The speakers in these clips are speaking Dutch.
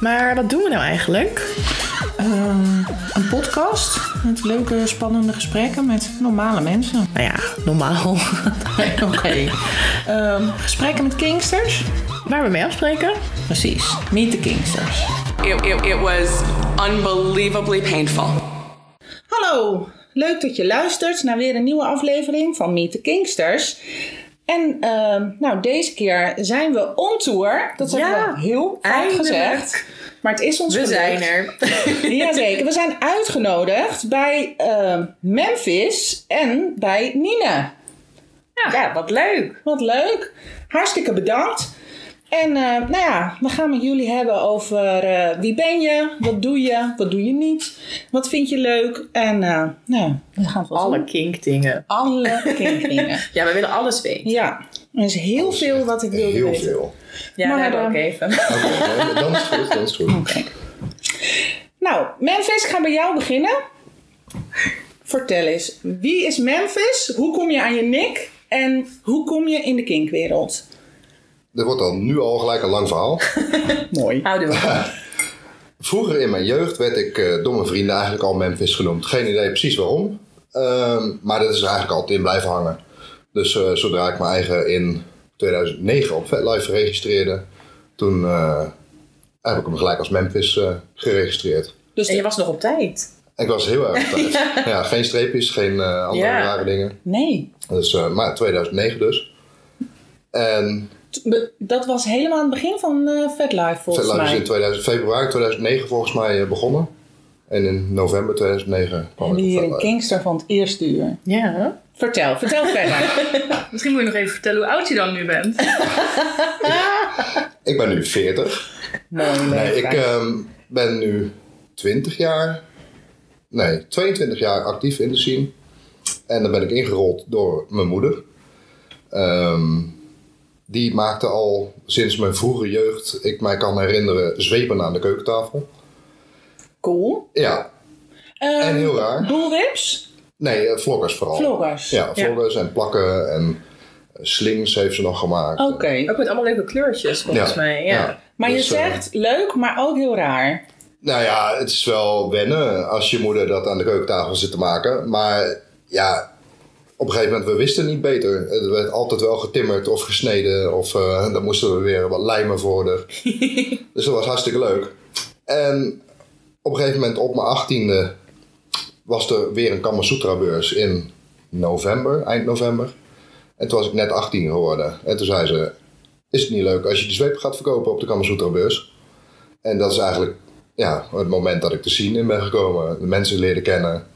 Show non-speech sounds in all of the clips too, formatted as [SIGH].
Maar wat doen we nou eigenlijk? Ehm, een podcast met leuke, spannende gesprekken met normale mensen. Nou ja, [LAUGHS] normaal. Oké. Ehm, gesprekken met kingsters? Waar we mee afspreken? Precies, niet de kingsters. It, it, it was unbelievably painful. Hallo, leuk dat je luistert naar weer een nieuwe aflevering van Meet the Kingsters. En ehm, nou, deze keer zijn we on tour. Dat hebben Ja, we heel vaak eindelijk. gezegd. Maar het is ons We gelukt. zijn er. [LAUGHS] Jazeker, we zijn uitgenodigd bij ehm, Memphis en bij Nina. Ja. wat leuk. Wat leuk. Hartstikke bedankt. En eh, nou ja, we gaan met jullie hebben over eh, wie ben je, wat doe je, wat doe je niet, wat vind je leuk. En eh, nou, we gaan het wel Alle zien. kinkdingen. [LAUGHS] alle kinderen. Ja, we willen alles weten. ja, er is heel veel wat ik wilde Heel weten. veel. Ja, Maar, dat hebben we ook eh, even. Oké, dan- dan is het goed, dan is het goed. Nou, Memphis, ik ga bij jou beginnen. Vertel eens, wie is Memphis? Hoe kom je aan je nek? En hoe kom je in de kinkwereld? Er wordt dan nu al gelijk een lang verhaal. Mooi. Houden we. Vroeger in mijn jeugd werd ik eh, door mijn vrienden eigenlijk al Memphis genoemd. Geen idee precies waarom. Ehm, maar dat is er eigenlijk altijd in blijven hangen. Dus eh, zodra ik mijn eigen in 2009 op VetLife registreerde, toen eh, heb ik hem gelijk als Memphis eh, geregistreerd. Dus En je was nog op tijd. Ik was heel erg thuis. ja. geen streepjes, geen eh, andere Ja. rare dingen. nee, Dus, eh, maar 2009 dus. En T- be- dat was helemaal aan het begin van eh Fatlife volgens Fat Life is mij. in 2000, februari 2009 volgens mij eh, begonnen. En in november 2009 kwam ik Hebben op hier Fat een Life. kingster van het eerste uur. Ja. Vertel, vertel verder. Misschien moet je nog even vertellen hoe oud je dan nu Oh, bent. Ik ben [LAUGHS] nu 40. Mooi, Nee, ik leeftijd. ehm, ben nu 20 jaar, nee, 22 jaar actief in de scene. En dan ben ik ingerold door mijn moeder. Ehm, die maakte al sinds mijn vroege jeugd, ik mij kan herinneren, zwepen aan de keukentafel. Cool. Ja, Ehm, en heel raar. Doelwips? Nee, eh, vloggers vooral. Vloggers. Ja, vloggers en plakken en eh, slings heeft ze nog gemaakt. Oké. Ook met allemaal leuke kleurtjes, volgens mij. Ja. Maar je Dus, eh, zegt leuk, maar ook heel raar. nou ja, het is wel wennen als je moeder dat aan de keukentafel zit te maken. Maar ja, op een gegeven moment, we wisten niet beter. Het werd altijd wel getimmerd of gesneden. Of eh daar moesten we weer wat lijmen voor. De. dus dat was hartstikke leuk. En op een gegeven moment, op mijn achttiende, was er weer een Kama Sutra beurs in november, eind november. En toen was ik net 18 geworden. En toen zei ze, is het niet leuk als je die zweep gaat verkopen op de Kama Sutra beurs? En dat is eigenlijk ja, het moment dat ik te zien in ben gekomen. De mensen leren kennen.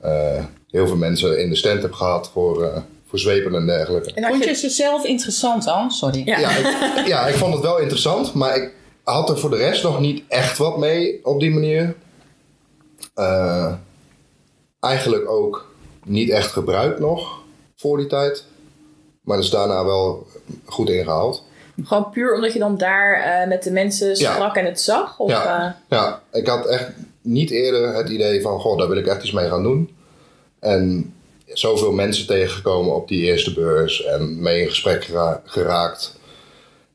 Eh, heel veel mensen in de stand heb gehad voor, eh, voor zwepen en dergelijke. En had Vond je je- ze zelf interessant dan? Sorry. Ja. Ja, ik, ja, ik vond het wel interessant, maar ik had er voor de rest nog niet echt wat mee op die manier. Eh, eigenlijk ook niet echt gebruikt nog voor die tijd. Maar dat is daarna wel goed ingehaald. Gewoon puur omdat je dan daar eh, met de mensen Ja. sprak en het zag? Of, eh, Ja, ja, ik had echt niet eerder het idee van, goh, daar wil ik echt iets mee gaan doen. En zoveel mensen tegengekomen op die eerste beurs en mee in gesprek gera- geraakt.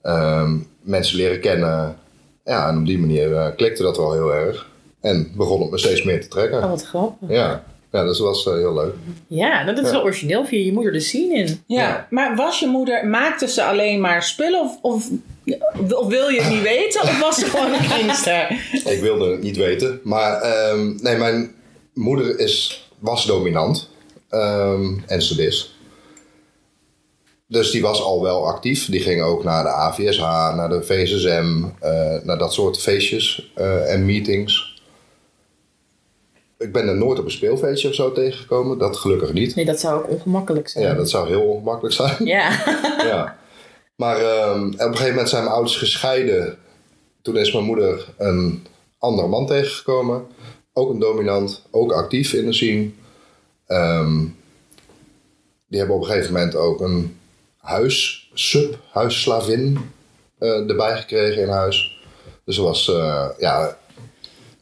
Ehm, mensen leren kennen. Ja, en op die manier eh, klikte dat wel heel erg. En begon het me steeds meer te trekken. Oh, wat grappig. Ja, ja dus dat was eh, heel leuk. Ja, nou, dat is Ja. wel origineel. Via je moeder de scene in. Ja, Ja. maar was je moeder, maakte ze alleen maar spullen of, of, of wil je het niet weten of was ze gewoon een kindster? Ik wilde het niet weten. Maar ehm, nee, mijn moeder is, was dominant. ehm, en sadist. Dus die was al wel actief. Die ging ook naar de AVSH, naar de VSSM, eh, naar dat soort feestjes eh, en meetings. Ik ben er nooit op een speelfeestje of zo tegengekomen. Dat gelukkig niet. Nee, dat zou ook ongemakkelijk zijn. Ja, dat zou heel ongemakkelijk zijn Ja. ja. Maar ehm, op een gegeven moment zijn mijn ouders gescheiden. Toen is mijn moeder een andere man tegengekomen. Ook een dominant, ook actief in de scene. Ehm, die hebben op een gegeven moment ook een huissub, huisslavin eh, erbij gekregen in huis. Dus er was eh, ja,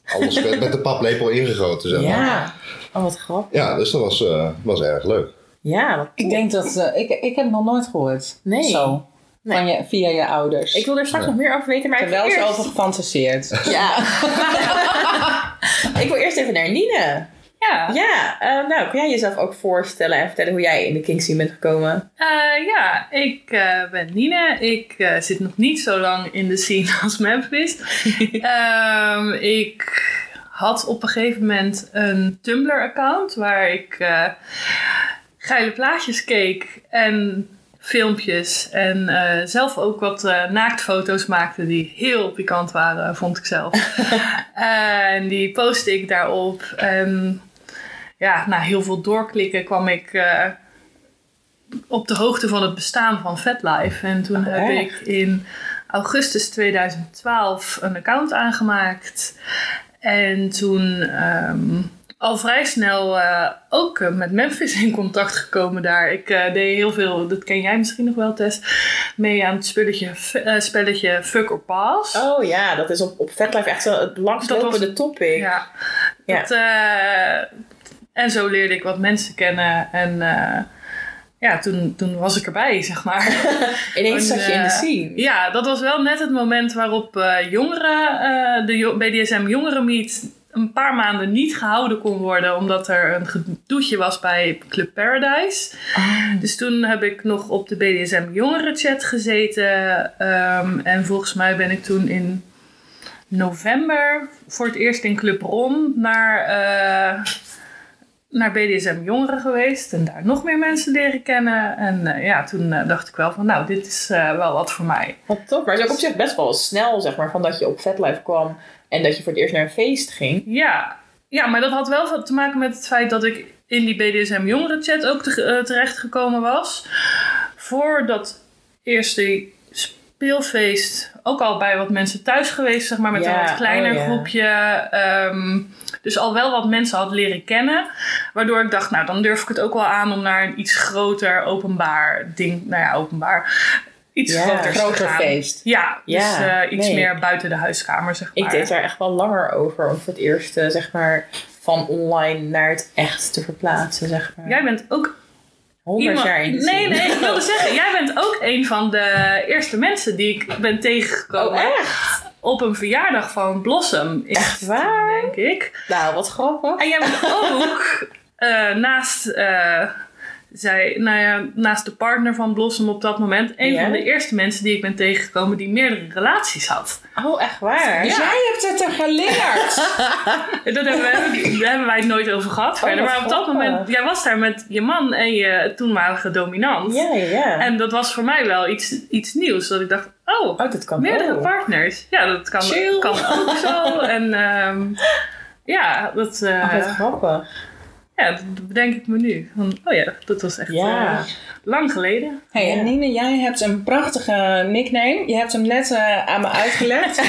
alles met, met de paplepel ingegoten. Zeg maar. ja. ja. Oh, wat grappig. dus dat was, eh, was erg leuk. Ja, wat Ik denk dat, eh, ik, ik heb het nog nooit gehoord. Nee. Zo. van je, via je ouders. Ik wil er straks nog meer over weten, maar ik wil, Terwijl ze eerst... over gefantaseerd. Ja. [LAUGHS] ik wil eerst even naar Nine. Ja. Ja, eh, nou, kun jij jezelf ook voorstellen en vertellen hoe jij in de King's Scene bent gekomen? Eh, ja, ik eh, ben Nina. Ik eh, zit nog niet zo lang in de scene [LAUGHS] als Memphis. Ehm, ik had op een gegeven moment een Tumblr-account waar ik eh, geile plaatjes keek en filmpjes en eh, zelf ook wat eh, naaktfoto's maakte die heel pikant waren, vond ik zelf. Eh, en die postte ik daarop en ja, na heel veel doorklikken kwam ik eh, op de hoogte van het bestaan van FetLife. En toen heb erg. ik in augustus 2012 een account aangemaakt. En toen ehm, al vrij snel eh, ook eh, met Memphis in contact gekomen daar. Ik eh, deed heel veel, dat ken jij misschien nog wel Tess, mee aan het spulletje, f- eh, spelletje Fuck or Pass. Oh ja, dat is op, op Fatlife echt zo het langstlopende Dat topic. Ja. Ja. Dat, eh, en zo leerde ik wat mensen kennen. En eh, ja, toen, toen was ik erbij, zeg maar. Ineens En, zat je in de eh, scene. ja, dat was wel net het moment waarop eh, jongeren, eh, de jo- BDSM jongerenmeet een paar maanden niet gehouden kon worden. Omdat er een gedoetje was bij Club Paradise. Dus toen heb ik nog op de BDSM jongerenchat gezeten. ehm, en volgens mij ben ik toen in november voor het eerst in Club Ron naar, eh, naar BDSM jongeren geweest. En daar nog meer mensen leren kennen. En eh, ja, toen eh, dacht ik wel van nou, dit is eh, wel wat voor mij. Wat top. Maar het is ook op zich best wel snel, zeg maar, van dat je op Fatlife kwam en dat je voor het eerst naar een feest ging. Ja. ja, maar dat had wel wat te maken met het feit dat ik in die BDSM jongerenchat ook te, eh, terechtgekomen was. Voor dat eerste speelfeest ook al bij wat mensen thuis geweest, zeg maar, met Ja, een wat kleiner oh ja. groepje. ehm, dus al wel wat mensen had leren kennen. Waardoor ik dacht, nou dan durf ik het ook wel aan om naar een iets groter openbaar ding, nou ja, openbaar, iets Ja, groters te Groter gaan. feest. Ja, Ja, dus eh, iets nee. meer buiten de huiskamer, zeg maar. Ik deed daar echt wel langer over om voor het eerst, eh, zeg maar, van online naar het echt te verplaatsen, zeg maar. Jij bent ook Honderd Iemand- jaar in Oh, de Nee, scene. nee, ik [LAUGHS] wilde zeggen, jij bent ook een van de eerste mensen die ik ben Oh, tegengekomen echt? op een verjaardag van Blossom. in Echt Houston, waar? Denk ik. Nou, wat grappig. En [LAUGHS] jij bent ook eh, naast, eh, zij, nou ja, naast de partner van Blossom op dat moment een Ja? van de eerste mensen die ik ben tegengekomen die meerdere relaties had. [LAUGHS] Oh, echt waar? Dus jij hebt het er geleerd. En Dat hebben, we, daar hebben wij het nooit over gehad Oh, verder. wat Maar op dat grappig. moment, jij was daar met je man en je toenmalige dominant. Ja, ja, ja. En dat was voor mij wel iets, iets nieuws. Dat ik dacht, oh, oh, dat kan meerdere ook. partners. Ja, dat kan, Chill. kan ook zo. En ehm, ja, dat, eh, Oh, wat grappig. ja, dat bedenk ik me nu. Van, oh ja, dat was echt Ja. eh, lang [LAUGHS] geleden. Hey, Ja. en Nina, jij hebt een prachtige nickname. Je hebt hem net eh, aan me uitgelegd.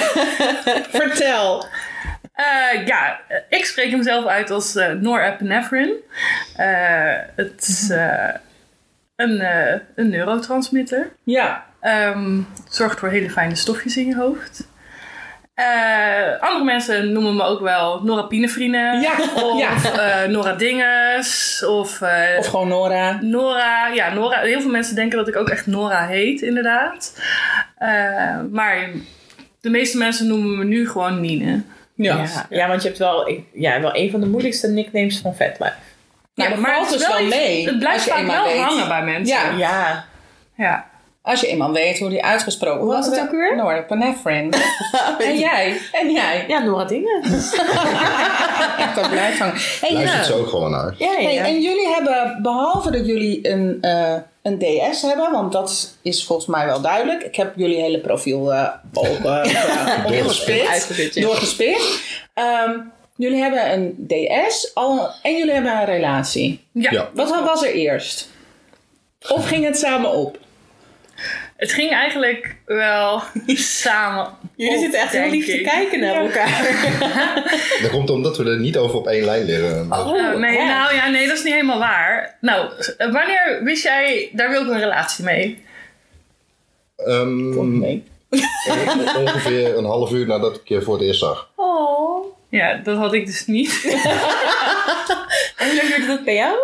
Vertel. Eh, ja, eh, ik spreek hem zelf uit als eh norepinephrine. Eh, het is Mhm. eh, een, eh, een neurotransmitter. Ja. Ehm, het zorgt voor hele fijne stofjes in je hoofd. Eh, andere mensen noemen me ook wel norapinefrine. Ja, Of ja. eh, Nora Dinges. Of, eh, Of gewoon Nora. Nora. Ja, Nora. Heel veel mensen denken dat ik ook echt Nora heet, inderdaad. Eh, maar de meeste mensen noemen me nu gewoon Nine. Ja. Ja. ja, want je hebt wel, ik- ja, wel een van de moeilijkste nicknames van Fatlife. Nou, dat valt het is dus wel iets- mee. Het blijft als je vaak eenmaal wel weet. hangen bij mensen. Ja. [LAUGHS] Ja. ja. Als je eenmaal weet hoe die uitgesproken wordt. was het ook weer? Nora [LAUGHS] Panefrin. en jij. En jij. Ja, Nora Dingen. Ja, dat blijft hangen. Hey, Luistert ja. ze ook gewoon naar. Ja, ja, Hey, eh, ja. en jullie hebben, behalve dat jullie een, eh, een DS hebben, want dat is volgens mij wel duidelijk. Ik heb jullie hele profiel eh ook [LAUGHS] eh Uitgespit, ja. doorgespit. doorgespit. Ehm, jullie hebben een DS al, en jullie hebben een relatie. Ja. Ja. Wat was er eerst? [LAUGHS] Of ging het samen op? Het ging eigenlijk [LAUGHS] wel samen. Eh, Jullie op, zitten echt heel denk lief te ik. kijken naar elkaar. Dat komt omdat we er niet over op één lijn liggen. Oh, Eh, nee, echt? nou ja, nee, dat is niet helemaal waar. Nou, eh, wanneer wist jij, daar wil ik een relatie mee? Ehm, Nee. on- [LAUGHS] ongeveer een half uur nadat ik je voor het eerst zag. Oh. Ja, dat had ik dus niet. [LAUGHS] En hoe lang duurde dat bij jou?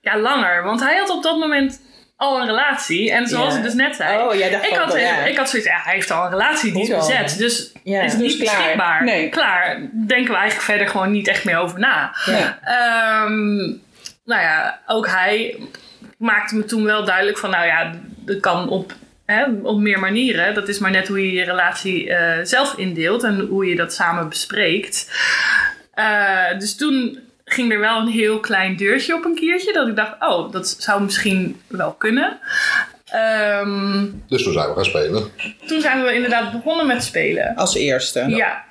ja, langer, want hij had op dat moment al een relatie. En zoals Ja. ik dus net zei, Oh, jij dacht ik, van, had, ja. ik had zoiets, ja, hij heeft al een relatie, die is Hoezo? bezet. Dus Ja. is Dus niet klaar. beschikbaar. Nee. Klaar. Denken we eigenlijk verder gewoon niet echt meer over na. Ja. Ehm, nou ja, ook hij maakte me toen wel duidelijk van, nou ja, dat kan op, hè, op meer manieren. Dat is maar net hoe je je relatie eh, zelf indeelt en hoe je dat samen bespreekt. Eh, dus toen ging er wel een heel klein deurtje op een kiertje. Dat ik dacht, oh, dat zou misschien wel kunnen. Ehm, Dus toen zijn we gaan spelen. toen zijn we inderdaad begonnen met spelen. Als eerste. Ja,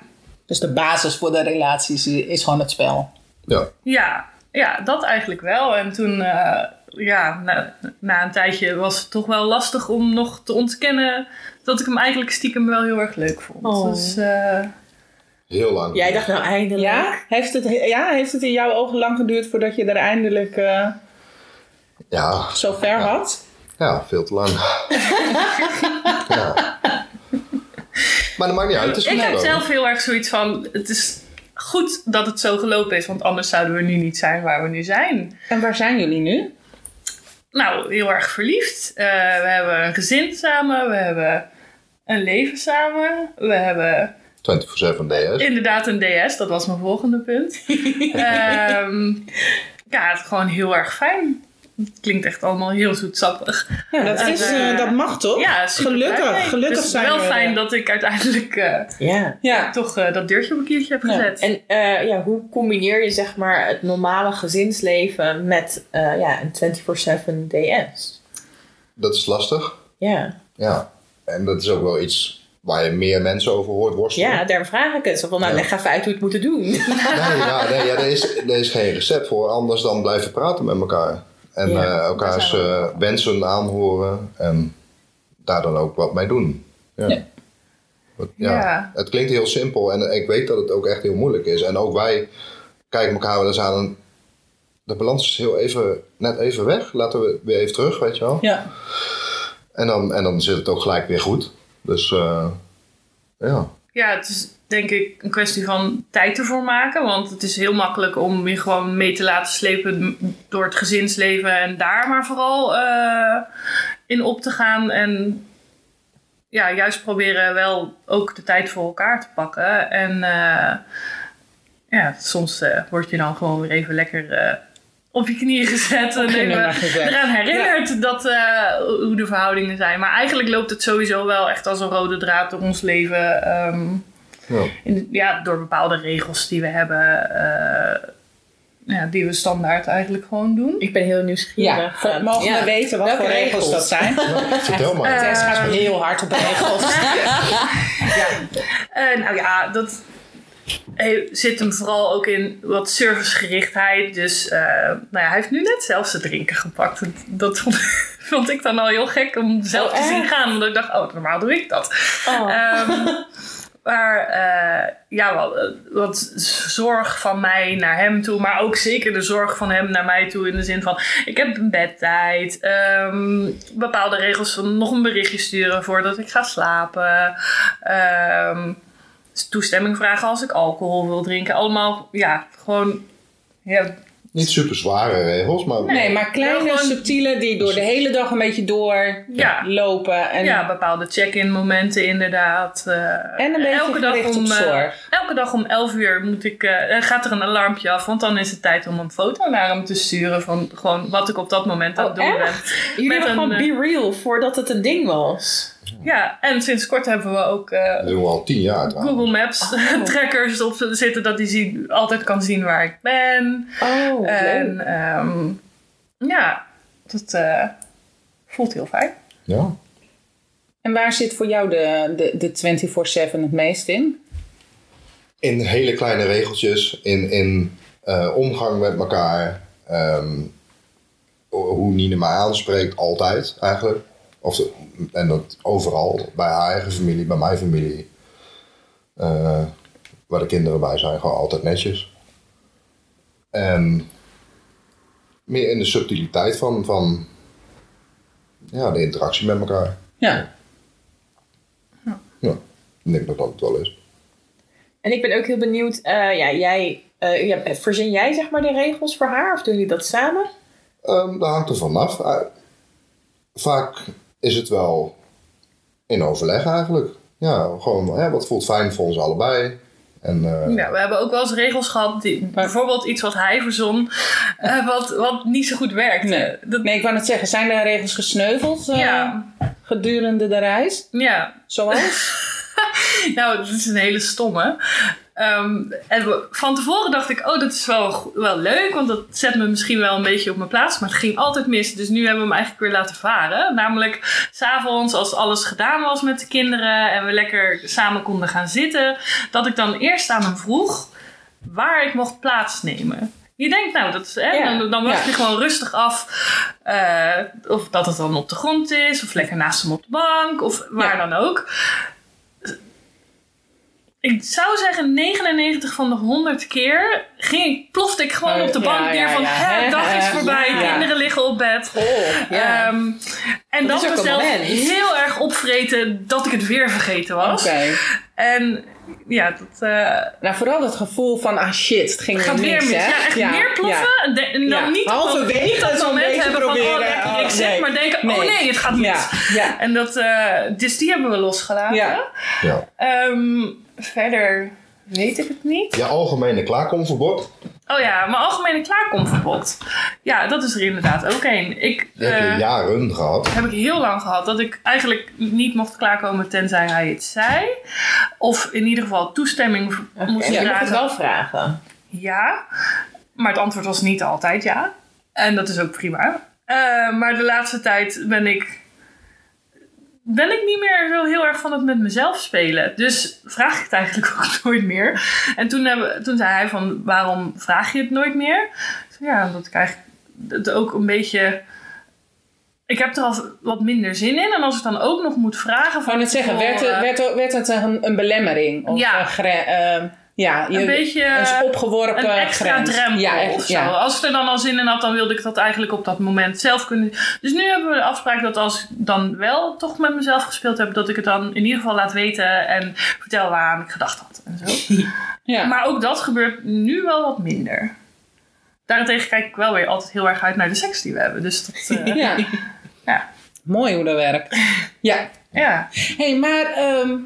Dus de basis voor de relaties i- is gewoon het spel. Ja. ja, ja, dat eigenlijk wel. En toen, eh, ja, na, na een tijdje was het toch wel lastig om nog te ontkennen dat ik hem eigenlijk stiekem wel heel erg leuk vond. Oh. Dus eh, Heel lang. Jij dacht nou eindelijk. Ja? Heeft het, ja, heeft het in jouw ogen lang geduurd voordat je er eindelijk eh, Ja, zo ver had? ja veel te lang. ja. Maar dat maakt niet uit. Het is ik goed heb gekomen. zelf heel erg zoiets van, het is goed dat het zo gelopen is, want anders zouden we nu niet zijn waar we nu zijn. En waar zijn jullie nu? Nou, heel erg verliefd. Eh, we hebben een gezin samen, we hebben een leven samen, we hebben 24-7 DS. Inderdaad, een DS, dat was mijn volgende [LAUGHS] punt. Ehm, ja, het is gewoon heel erg fijn. Het klinkt echt allemaal heel zoetsappig. Ja, dat, dat is, is, eh, eh, dat mag toch? Ja, super blij mee. gelukkig. Gelukkig dus het is zijn wel we- fijn dat ik uiteindelijk eh, Ja. Ja. toch eh, dat deurtje op een kiertje heb gezet. En eh, ja, hoe combineer je zeg maar het normale gezinsleven met eh, ja, een 24-7 DS? Dat is lastig. Ja. Ja. En dat is ook wel iets waar je meer mensen over hoort worstelen. ja, daarom vraag ik het. Zo van, nou, Ja. leg even uit hoe we het moeten doen. Nee, ja, nee ja, er, is, er is geen recept voor. Anders dan blijven praten met elkaar. En Ja, eh, elkaars daar zijn eh, wensen aanhoren. En daar dan ook wat mee doen. Ja. Ja. Wat- ja. Ja. Het klinkt heel simpel. En ik weet dat het ook echt heel moeilijk is. En ook wij kijken elkaar wel eens aan. en de balans is heel even, net even weg. Laten we weer even terug, weet je wel. Ja. En, dan, en dan zit het ook gelijk weer goed. Dus eh, ja. Ja, het is denk ik een kwestie van tijd ervoor maken. Want het is heel makkelijk om je gewoon mee te laten slepen door het gezinsleven. En daar maar vooral eh, in op te gaan. En ja, juist proberen wel ook de tijd voor elkaar te pakken. En eh, ja, soms eh, word je dan gewoon weer even lekker... eh, op je knieën gezet en je even nummer gezet. eraan herinnerd dat, eh, hoe de verhoudingen zijn. Maar eigenlijk loopt het sowieso wel echt als een rode draad door ons leven. ehm, ja. in- ja, door bepaalde regels die we hebben, eh, ja, die we standaard eigenlijk gewoon doen. [LAUGHS] ik ben heel Ja, nieuwsgierig. Ver- mogen Ja. we weten wat Welke voor regels, regels? dat [LAUGHS] zijn? Vertel maar. Tess gaat heel hard op regels. Eh, nou ja, dat eh, zit hem vooral ook in wat servicegerichtheid. Dus eh, nou ja, hij heeft nu net zelf zijn drinken gepakt. Dat, dat vond, [LAUGHS] vond ik dan al heel gek om zelf Oh, te zien echt? gaan. Want ik dacht, oh, normaal doe ik dat. Oh. Ehm, maar eh, ja, wel, eh, wat zorg van mij naar hem toe. Maar ook zeker de zorg van hem naar mij toe. In de zin van, ik heb een bedtijd. ehm, bepaalde regels van nog een berichtje sturen voordat ik ga slapen. ehm, toestemming vragen als ik alcohol wil drinken. Allemaal, ja, gewoon... Ja, Niet super zware regels, maar Nee, maar kleine, Wel gewoon- subtiele die door de hele dag een beetje doorlopen. ja, En ja, bepaalde check-in momenten inderdaad. eh, En een beetje gericht op eh, zorg. elke dag om 11 uur moet ik, eh, eh, gaat er een alarmpje af. Want dan is het tijd om een foto naar hem te sturen. Van gewoon wat ik op dat moment aan het Oh, doen Jullie met hebben gewoon een, Be Real voordat het een ding was. ben. Ja, en sinds kort hebben we ook eh, dat doen we al tien jaar trouwens. Google Maps Oh, [LAUGHS] trackers op zitten. Dat hij zien, altijd kan zien waar ik ben. Oh, wat leuk. En ehm, ja, dat eh, voelt heel fijn. Ja. En waar zit voor jou de, de, de 24-7 het meest in? In hele kleine regeltjes, in, in eh, omgang met elkaar. ehm, ho- hoe Nina mij aanspreekt, altijd eigenlijk. Of, de- en dat overal, bij haar eigen familie, bij mijn familie. Eh, waar de kinderen bij zijn, gewoon altijd netjes. En meer in de subtiliteit van, van ja, de interactie met elkaar. Ja. Ja, ik denk dat dat het wel is. En ik ben ook heel benieuwd, eh, ja, jij, eh, ja, verzin jij zeg maar de regels voor haar of doen jullie dat samen? Ehm dat hangt er vanaf. Eh, vaak is het wel in overleg eigenlijk. Ja, gewoon hè, wat voelt fijn voor ons allebei. En eh, Ja, we hebben ook wel eens regels gehad, die, bijvoorbeeld iets wat hij verzon, [LAUGHS] eh, wat, wat niet zo goed werkte. Nee. Dat, Nee, ik wou net zeggen, zijn er regels gesneuveld eh, Ja. gedurende de reis? ja, [LAUGHS] Zoals? Nou, dat is een hele stomme. Ehm, en we- van tevoren dacht ik, oh, dat is wel, go- wel leuk, want dat zet me misschien wel een beetje op mijn plaats. Maar het ging altijd mis, dus nu hebben we hem eigenlijk weer laten varen. Namelijk, s'avonds, als alles gedaan was met de kinderen en we lekker samen konden gaan zitten, dat ik dan eerst aan hem vroeg waar ik mocht plaatsnemen. Je denkt, nou, dat is, hè, Ja, dan, dan wacht ja. je gewoon rustig af eh, of dat het dan op de grond is, of lekker naast hem op de bank, of waar dan ook. Ik zou zeggen 99 van de 100 keer ging ik, plofte ik gewoon Oh, op de ja, bank ja, neer van ja. hè, dag is Ja, voorbij, ja. kinderen liggen op bed. Oh, ja. Ehm, en dat, is ook was een mezelf moment. heel erg opvreten dat ik het weer vergeten was. Oké. En ja, dat eh, Nou, vooral dat gevoel van, ah shit, het ging gaat weer weer mis, mis. hè? Ja, echt neerploffen. En de- en dan Ja. niet dat- Halverwege niet dat zo'n moment beetje hebben van oh proberen, lekker oh, niks zeg, nee. maar denken oh Nee. nee, het gaat mis. Ja, ja. En dat, eh, dus die hebben we losgelaten. Ja. ja. Ehm, verder weet ik het niet. Je algemene klaarkomverbod. Oh ja, mijn algemene klaarkomverbod. Ja, dat is er inderdaad ook één. Ik Die heb je eh, jaren gehad. heb ik heel lang gehad dat ik eigenlijk niet mocht klaarkomen tenzij hij het zei. Of in ieder geval toestemming v- moest En je mag vragen. het wel vragen. Ja, maar het antwoord was niet altijd ja. En dat is ook prima. Eh, maar de laatste tijd ben ik. Ben ik niet meer zo heel erg van het met mezelf spelen. Dus vraag ik het eigenlijk [LAUGHS] ook nooit meer. En toen, hebben, toen zei hij van, waarom vraag je het nooit meer? Ik zei, Ja, omdat ik eigenlijk het ook een beetje... Ik heb er al wat minder zin in. En als ik dan ook nog moet vragen... Gewoon het zeggen, werd, het- werd, het- werd het een, een belemmering? Of Oh, eh. Ja. een, gre- eh, ja, je, een beetje... eh, een opgeworpen een extra grens. drempel ja, echt, of zo. ja. Als ik er dan al zin in had, dan wilde ik dat eigenlijk op dat moment zelf kunnen. Dus nu hebben we de afspraak dat als ik dan wel toch met mezelf gespeeld heb, dat ik het dan in ieder geval laat weten en vertel waaraan ik gedacht had en zo. Ja. Maar ook dat gebeurt nu wel wat minder. Daarentegen kijk ik wel weer altijd heel erg uit naar de seks die we hebben. Dus dat, [LAUGHS] eh, ja. ja. Mooi hoe dat werkt. Ja. Hé, hey, maar ehm,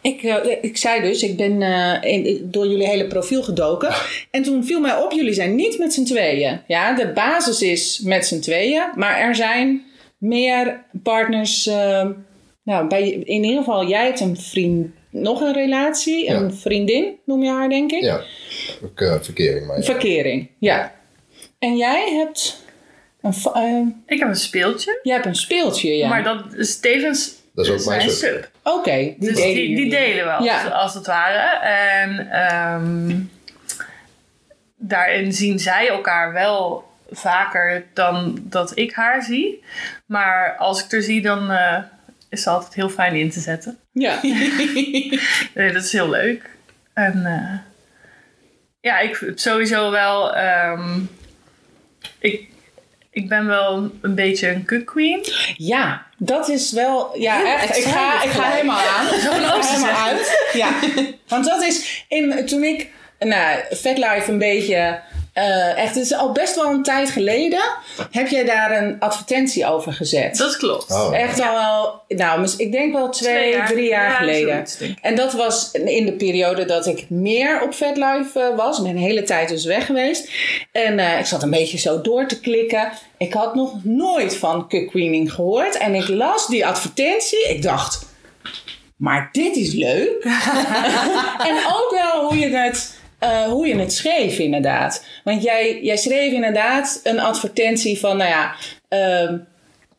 ik, eh, ik zei dus, ik ben eh, in- in- door jullie hele profiel gedoken. En toen viel mij op, jullie zijn niet met z'n tweeën. Ja, de basis is met z'n tweeën. Maar er zijn meer partners. ehm, nou, bij, in ieder geval, jij hebt een vriend, nog een relatie. Ja. Een vriendin noem je haar, denk ik. Ja, ik, eh, verkering. Maar ja. Verkering, ja. En jij hebt een, fa- eh, Ik heb een speeltje, jij hebt een speeltje, ja. maar dat is tevens Dat is ook zijn mijn sub. Oké, die Dus delen die, die jullie. delen wel, Ja. als, als het ware. En ehm, daarin zien zij elkaar wel vaker dan dat ik haar zie. Maar als ik er zie, dan eh, is ze altijd heel fijn in te zetten. [LAUGHS] Ja. Nee, dat is heel leuk. En eh, ja, ik vind het sowieso wel... ehm, ik, ik ben wel een beetje een cook queen. Ja, dat is wel. Ja, echt. Ik excited ga, ik ga gelijk. helemaal aan. Ik ga Oosterse helemaal uit. Ja. Want dat is. In, toen ik. Nou, Fatlife een beetje. eh, echt, het is al best wel een tijd geleden. Heb jij daar een advertentie over gezet? Dat klopt. Oh, ja. Echt al wel, nou, mis- ik denk wel twee, Twee jaar. drie jaar Ja, geleden. zoiets, denk ik. En dat was in de periode dat ik meer op Fatlife eh, was. Ik ben een hele tijd dus weg geweest. En eh, ik zat een beetje zo door te klikken. Ik had nog nooit van cookqueening gehoord. En ik las die advertentie. Ik dacht, maar dit is [LAUGHS] leuk. en ook wel hoe je het... eh, hoe je het schreef, inderdaad. Want jij, jij schreef inderdaad een advertentie van, nou ja, ehm,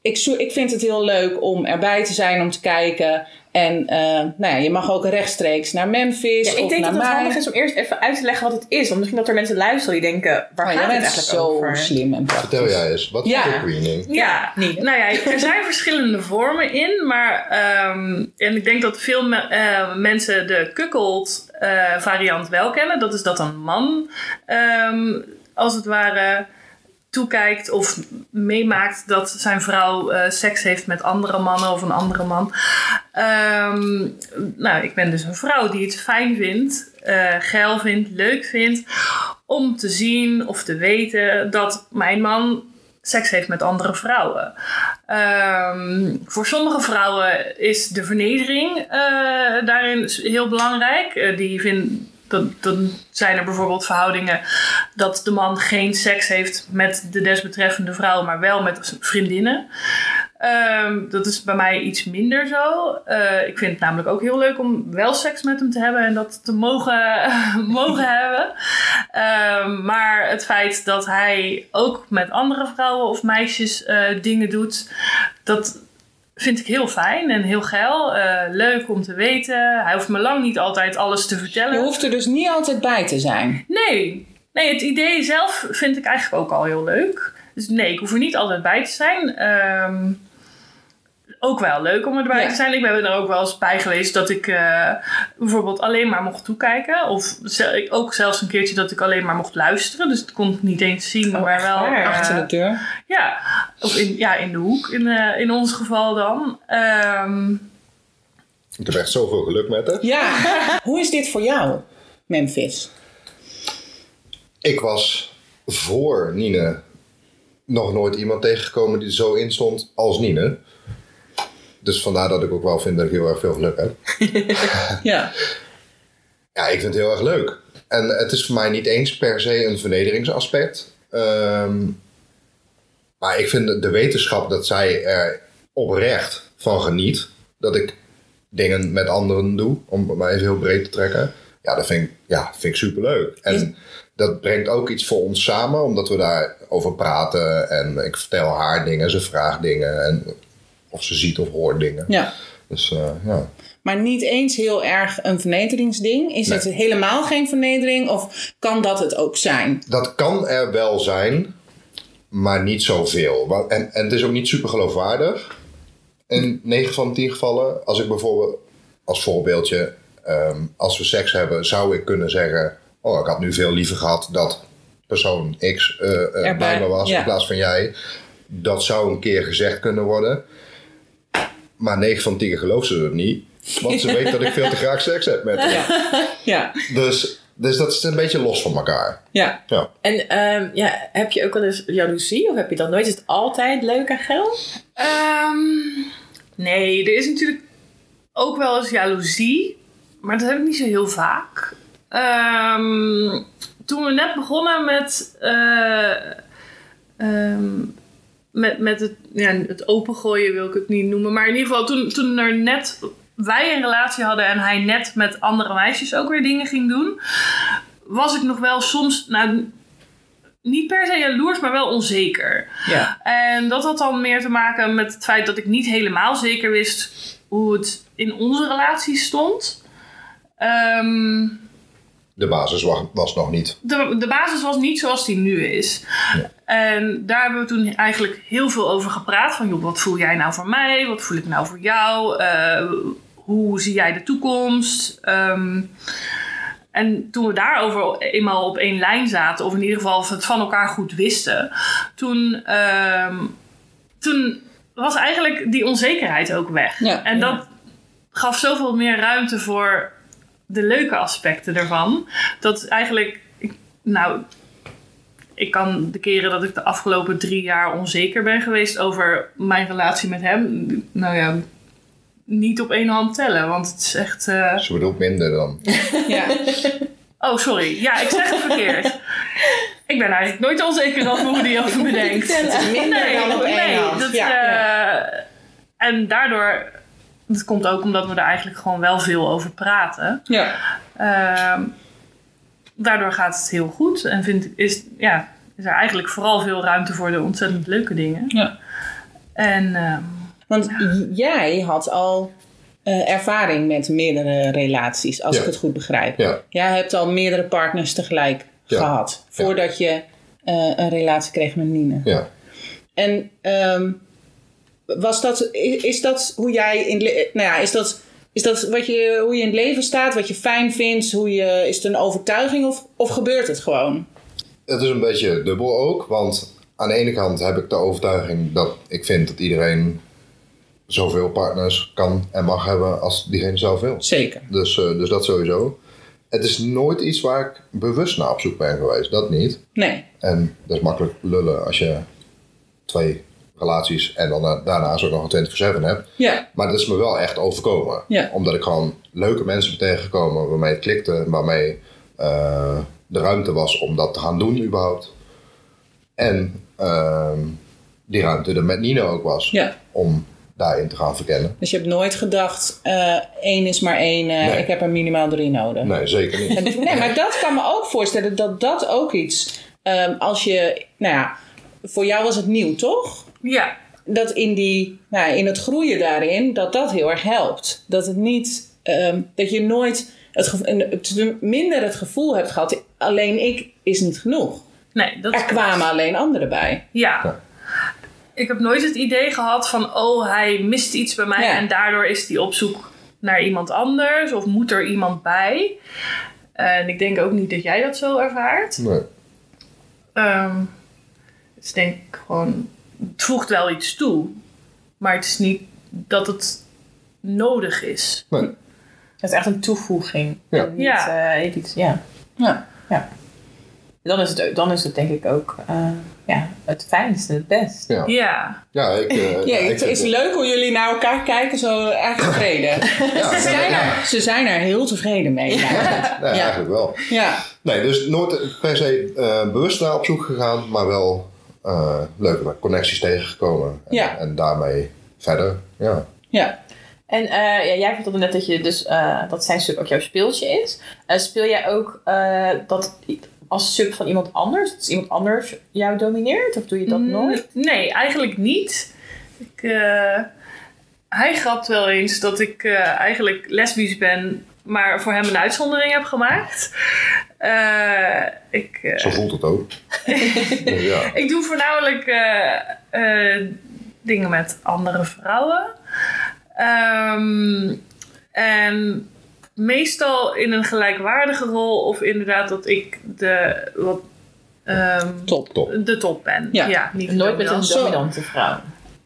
ik, zo- ik vind het heel leuk om erbij te zijn, om te kijken. En eh, nou ja, je mag ook rechtstreeks naar Memphis. Ja, ik of denk naar dat het mij. handig is om eerst even uit te leggen wat het is. Want misschien dat er mensen luisteren die denken, waar Maar gaat Oh, jij het bent eigenlijk zo over? slim en praktisch. Vertel jij eens, wat is Ja. verkering? Ja, niet. nou ja, er zijn verschillende vormen in, maar ehm, en ik denk dat veel me- eh, mensen de kukkeld eh, variant wel kennen. Dat is dat een man ehm, als het ware toekijkt of meemaakt dat zijn vrouw eh, seks heeft met andere mannen of een andere man. Ehm, nou, ik ben dus een vrouw die het fijn vindt, eh, geil vindt, leuk vindt om te zien of te weten dat mijn man seks heeft met andere vrouwen. Ehm, voor sommige vrouwen is de vernedering eh, daarin heel belangrijk. Eh, die vinden. Dan, dan zijn er bijvoorbeeld verhoudingen dat de man geen seks heeft met de desbetreffende vrouw, maar wel met zijn vriendinnen. Ehm, dat is bij mij iets minder zo. Eh, ik vind het namelijk ook heel leuk om wel seks met hem te hebben en dat te mogen, [LAUGHS] mogen hebben. Ehm, maar het feit dat hij ook met andere vrouwen of meisjes eh, dingen doet, dat vind ik heel fijn en heel geil. Eh, leuk om te weten. Hij hoeft me lang niet altijd alles te Je vertellen. hoeft er dus niet altijd bij te zijn. Nee. Nee, het idee zelf vind ik eigenlijk ook al heel leuk. Dus nee, ik hoef er niet altijd bij te zijn. Ehm, ook wel leuk om erbij Ja. te zijn. Ik ben er ook wel eens bij geweest dat ik eh, bijvoorbeeld alleen maar mocht toekijken. Of ze- ook zelfs een keertje dat ik alleen maar mocht luisteren. Dus het kon ik niet eens zien, maar wel... eh, Oh, Achter de deur. ja, of in, ja, in de hoek in, eh, in ons geval dan. Ehm, Ik heb echt zoveel geluk met haar. Ja. [LAUGHS] Hoe is dit voor jou, Memphis? Ik was voor Nine nog nooit iemand tegengekomen die er zo in stond als Nine. Dus vandaar dat ik ook wel vind dat ik heel erg veel geluk heb. Ja. Ja, ik vind het heel erg leuk. En het is voor mij niet eens per se een vernederingsaspect. Ehm, maar ik vind de- de wetenschap dat zij er oprecht van geniet. Dat ik dingen met anderen doe, om het maar even heel breed te trekken. Ja, dat vind ik, ja, vind ik superleuk. En dat brengt ook iets voor ons samen, omdat we daarover praten. En ik vertel haar dingen, ze vraagt dingen. En of ze ziet of hoort dingen. ja. Dus eh, ja. Maar niet eens heel erg een vernederingsding. Is Nee. het helemaal geen vernedering of kan dat het ook zijn? Dat kan er wel zijn, maar niet zoveel. Wa- En, en het is ook niet super geloofwaardig. In 9 van 10 gevallen, als ik bijvoorbeeld, als voorbeeldje, ehm, als we seks hebben, zou ik kunnen zeggen: Oh, ik had nu veel liever gehad dat persoon X eh, eh, bij me was ja. in plaats van jij. Dat zou een keer gezegd kunnen worden. Maar 9 van 10 gelooft ze dat niet. Want ze weet dat ik veel te graag seks heb met haar. Ja. Dus, dus dat is een beetje los van elkaar. Ja. Ja. En ehm, ja, heb je ook wel eens jaloezie? Of heb je dat nooit? Is het altijd leuk en geil? Ehm, nee, er is natuurlijk ook wel eens jaloezie. Maar dat heb ik niet zo heel vaak. Ehm, toen we net begonnen met, eh, ehm, met, met het, ja, het opengooien, wil ik het niet noemen. Maar in ieder geval, toen, toen er net wij een relatie hadden en hij net met andere meisjes ook weer dingen ging doen, was ik nog wel soms, nou, niet per se jaloers, maar wel onzeker. Ja. En dat had dan meer te maken met het feit dat ik niet helemaal zeker wist hoe het in onze relatie stond. Ehm, De basis wa- was nog niet. de, de basis was niet zoals die nu is. En daar hebben we toen eigenlijk heel veel over gepraat. Van joh, wat voel jij nou voor mij? Wat voel ik nou voor jou? Eh, hoe zie jij de toekomst? Ehm, en toen we daarover eenmaal op één lijn zaten, of in ieder geval het van elkaar goed wisten, toen, ehm, toen was eigenlijk die onzekerheid ook weg. Ja, en ja. dat gaf zoveel meer ruimte voor de leuke aspecten ervan. Dat eigenlijk, ik- nou, ik kan de keren dat ik de afgelopen drie jaar onzeker ben geweest over mijn relatie met hem, nou ja, niet op één hand tellen. Want het is echt. eh, Ze bedoelt minder dan. ja. Oh, sorry. Ja, ik zeg het [LAUGHS] verkeerd. ik ben eigenlijk nooit onzeker dan hoe die over me denkt. Minder dan op één hand. dat, ja. eh, En daardoor... Dat komt ook omdat we er eigenlijk gewoon wel veel over praten. ja. Ehm, daardoor gaat het heel goed. En vind, ik- is, ja, is er eigenlijk vooral veel ruimte voor de ontzettend leuke dingen. Ja. En... ehm, Want j- jij had al eh, ervaring met meerdere relaties, als Ja. ik het goed begrijp. Ja. Jij hebt al meerdere partners tegelijk Ja. gehad, voordat je eh, een relatie kreeg met Nina. Ja. En ehm, was dat, i- is dat hoe jij in het le- nou ja, is dat, is dat wat je, hoe je in het leven staat, wat je fijn vindt, hoe je, is het een overtuiging of, of gebeurt het gewoon? Het is een beetje dubbel ook, want aan de ene kant heb ik de overtuiging dat ik vind dat iedereen zoveel partners kan en mag hebben als diegene zelf wil. Zeker. Dus, eh, dus dat sowieso. Het is nooit iets waar ik bewust naar op zoek ben geweest, dat niet. Nee. En dat is makkelijk lullen als je twee relaties en dan eh, daarnaast ook nog een 24-7 heb. Ja. Maar dat is me wel echt overkomen. Ja. Omdat ik gewoon leuke mensen ben tegengekomen waarmee het klikte. en Waarmee eh, de ruimte was om dat te gaan doen überhaupt. En ehm, die ruimte er met Nino ook was. ja. Om daarin te gaan verkennen. Dus je hebt nooit gedacht, eh, één is maar één, eh, Nee. ik heb er minimaal drie nodig. Nee, zeker niet. En- nee, maar dat kan me ook voorstellen dat dat ook iets, ehm, als je, nou ja, voor jou was het nieuw toch? Ja, Dat in, die, nou, ja, in het groeien daarin, dat dat heel erg helpt. Dat het niet, ehm, dat je nooit, het gevo- en te- minder het gevoel hebt gehad, alleen ik is niet genoeg. nee, dat Er kwamen alleen anderen bij. Ja. Ik heb nooit het idee gehad van, oh, hij mist iets bij mij Ja. en daardoor is hij op zoek naar iemand anders of moet er iemand bij. En ik denk ook niet dat jij dat zo ervaart. Nee. Ehm, dus ik denk gewoon, het voegt wel iets toe, maar het is niet dat het nodig is. Nee. Het is echt een toevoeging. Ja. En Niet, Ja. eh, iets, ja. Ja. Dan, is het, ook- dan is het denk ik ook eh, ja, het fijnste, het best. Ja. Ja, Ja, ik, [LAUGHS] eh, Ja, ja, ik het vind is leuk hoe jullie naar elkaar kijken, zo eigenlijk tevreden. Ja, Ze zijn, ja, er, ze zijn er heel tevreden [LAUGHS] mee. Ja. nee, Ja. eigenlijk wel. ja. Nee, dus nooit per se eh, bewust naar op zoek gegaan, maar wel eh, leuke connecties tegengekomen. En, Ja. en daarmee verder. Ja. Ja. En eh, ja, jij vertelde net dat je dus eh, dat zijn sub ook jouw speeltje is. Eh, speel jij ook eh, dat i- als sub van iemand anders? Dat is iemand anders jou domineert? Of doe je dat nooit? Nee, eigenlijk niet. Ik, eh, hij grapt wel eens dat ik eh, eigenlijk lesbisch ben, maar voor hem een uitzondering heb gemaakt. Eh, ik, eh, Zo voelt het [LAUGHS] ook. Dus ja. ik doe voornamelijk eh, eh, dingen met andere vrouwen. Ehm, en meestal in een gelijkwaardige rol, of inderdaad dat ik de wat. ehm, Top. Top. de top ben. Ja. Ja, niet Nooit met een dominant. dominante vrouw.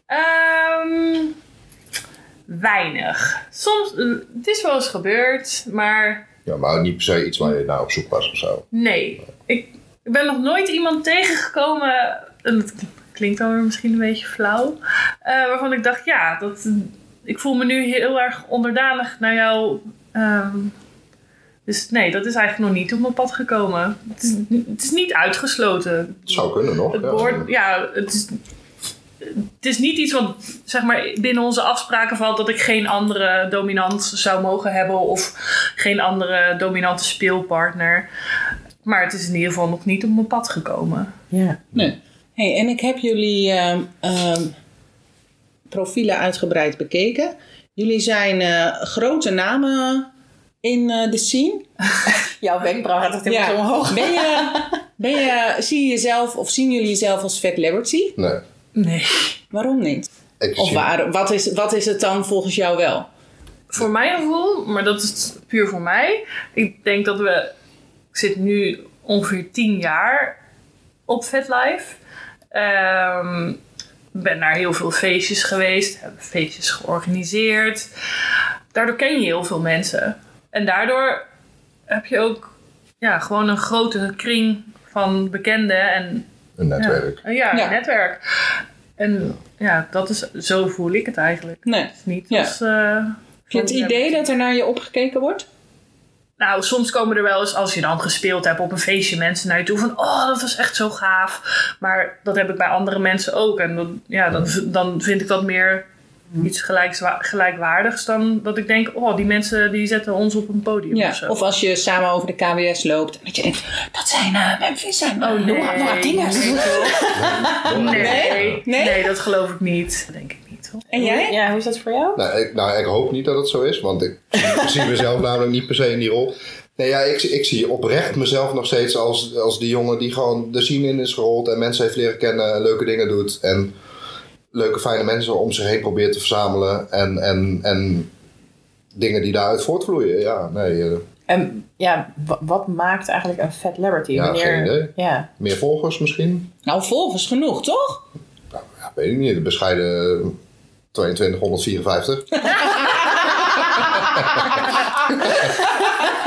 Ehm weinig. Soms, eh, het is wel eens gebeurd, maar ja, maar niet per se iets waar je naar op zoek was of zo. nee. Ik, ik ben nog nooit iemand tegengekomen, en dat klinkt dan weer misschien een beetje flauw, eh, waarvan ik dacht, ja, dat, ik voel me nu heel erg onderdanig naar jou. ehm, dus nee, dat is eigenlijk nog niet op mijn pad gekomen. Het is, het is niet uitgesloten. Het zou kunnen nog. Het ja. woord, ja, het is, het is niet iets wat zeg maar, binnen onze afspraken valt dat ik geen andere dominant zou mogen hebben of geen andere dominante speelpartner. Maar het is in ieder geval nog niet op mijn pad gekomen. Ja. Nee. Hey, en ik heb jullie ehm, ehm, profielen uitgebreid bekeken. Jullie zijn eh, grote namen in eh, de scene. Jouw wenkbrauw gaat echt helemaal zo omhoog. Ben je, [LAUGHS] ben je, zie je jezelf of zien jullie jezelf als fat celebrity? Nee. Nee. Waarom niet? Ik Of zie- waar, wat, is, wat is het dan volgens jou wel? Voor mijn gevoel, maar dat is puur voor mij. Ik denk dat we. Ik zit nu ongeveer 10 jaar op VetLife. Ehm ben naar heel veel feestjes geweest, heb feestjes georganiseerd. Daardoor ken je heel veel mensen. En daardoor heb je ook ja, gewoon een grote kring van bekenden en Een netwerk. ja, ja, Ja. netwerk. En ja, dat is, zo voel ik het eigenlijk. Nee. Het is niet Ja. als. eh, Heb je het idee dat er naar je opgekeken wordt? Nou, soms komen er wel eens, als je dan gespeeld hebt op een feestje, mensen naar je toe van, oh, dat was echt zo gaaf. Maar dat heb ik bij andere mensen ook. En dan, ja, dan, v- dan vind ik dat meer Mhm. iets gelijkswa- gelijkwaardigs dan dat ik denk, oh, die mensen die zetten ons op een podium of zo. Ja. Of als je samen over de KWS loopt. Dat je denkt, dat zijn eh Memphis zijn eh, nee. Nora, Nora Dingers. nee, Nee? nee. Nee? dat geloof ik niet. Dat denk ik niet, hoor. En jij? Ja, hoe is dat voor jou? Nou ik, nou, ik hoop niet dat het zo is, want ik [LAUGHS] zie- zie mezelf namelijk niet per se in die rol. Nee, ja, ik, ik zie oprecht mezelf nog steeds als, als die jongen die gewoon de scene in is gerold en mensen heeft leren kennen en leuke dingen doet en leuke, fijne mensen om zich heen probeert te verzamelen en, en, en dingen die daaruit voortvloeien. Ja, nee, eh, En Ehm, ja, wa- wat maakt eigenlijk een fat celebrity? Ja, geen idee. Ja. meer volgers misschien? Nou, volgers genoeg, toch? Ja, weet ik niet, de bescheiden eh, 2254. Oh,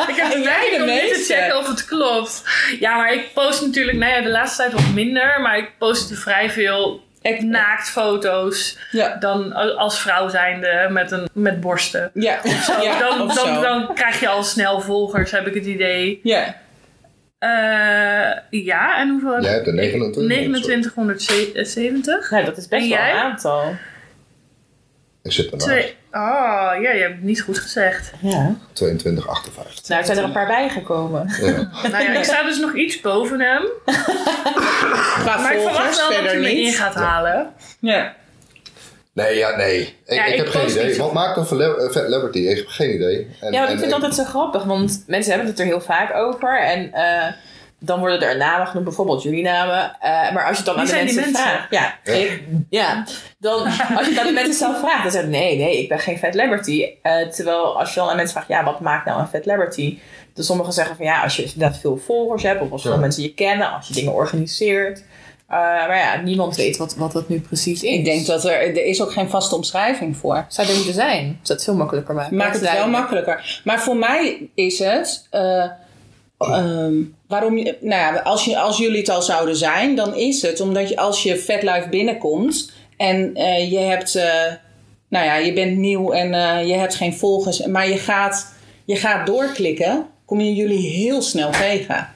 Ik [LAUGHS] heb jij de de neiging om niet te meeste? checken of het klopt. Ja, maar ik post natuurlijk, nou ja, de laatste tijd wat minder, maar ik post vrij veel Ik- naaktfoto's Ja. dan als vrouw zijnde met, een, met borsten. [LAUGHS] Ja. ja. dan, of zo. dan, dan krijg je al snel volgers, heb ik het idee. Ja. Eh, ja, en hoeveel heb Jij ik? hebt er 29. 2970. Nou, dat is best En wel jij? een aantal. Ik zit ernaast. Twee. Oh, ja, je hebt het niet goed gezegd. Ja. 22, 58. Nou, er zijn er een paar bijgekomen. Ja. [LAUGHS] Nou ja, ik sta dus nog iets boven hem. Qua Maar ik verwacht volgers wel dat verder hij me in niet. gaat halen. Ja. Nee, ja, nee. Ik, Ja, ik ik heb geen post idee. niet. Wat maakt een verle- eh, celebrity? Ik heb geen idee. Ja, En- want en- ik vind en- altijd zo grappig, want mensen hebben het er heel vaak over. En eh, dan worden er namen genoemd, bijvoorbeeld jullie namen. Eh, maar als je het dan Wie aan de zijn die mensen, mensen? vraagt. Ja, Ja. ik. Ja. Dan, als je het aan de mensen zelf vraagt, dan zeggen ze nee, nee, ik ben geen fat liberty. Eh, terwijl als je dan aan mensen vraagt, ja, wat maakt nou een fat liberty? Dus sommigen zeggen van ja, als je inderdaad veel volgers hebt, of als veel Ja. mensen je kennen, als je dingen organiseert. Eh, maar ja, niemand weet wat, wat dat nu precies is. Ik denk dat er, er is ook geen vaste omschrijving voor. Zou er moeten zijn? Zou het veel makkelijker maken? maakt het wel makkelijker. Maar voor mij is het. eh, ehm, waarom je, nou ja, als, je, als jullie het al zouden zijn, dan is het omdat je als je Fatlife binnenkomt en eh, je hebt. eh, nou ja, je bent nieuw en eh, je hebt geen volgers, maar je gaat, je gaat doorklikken, kom je jullie heel snel tegen.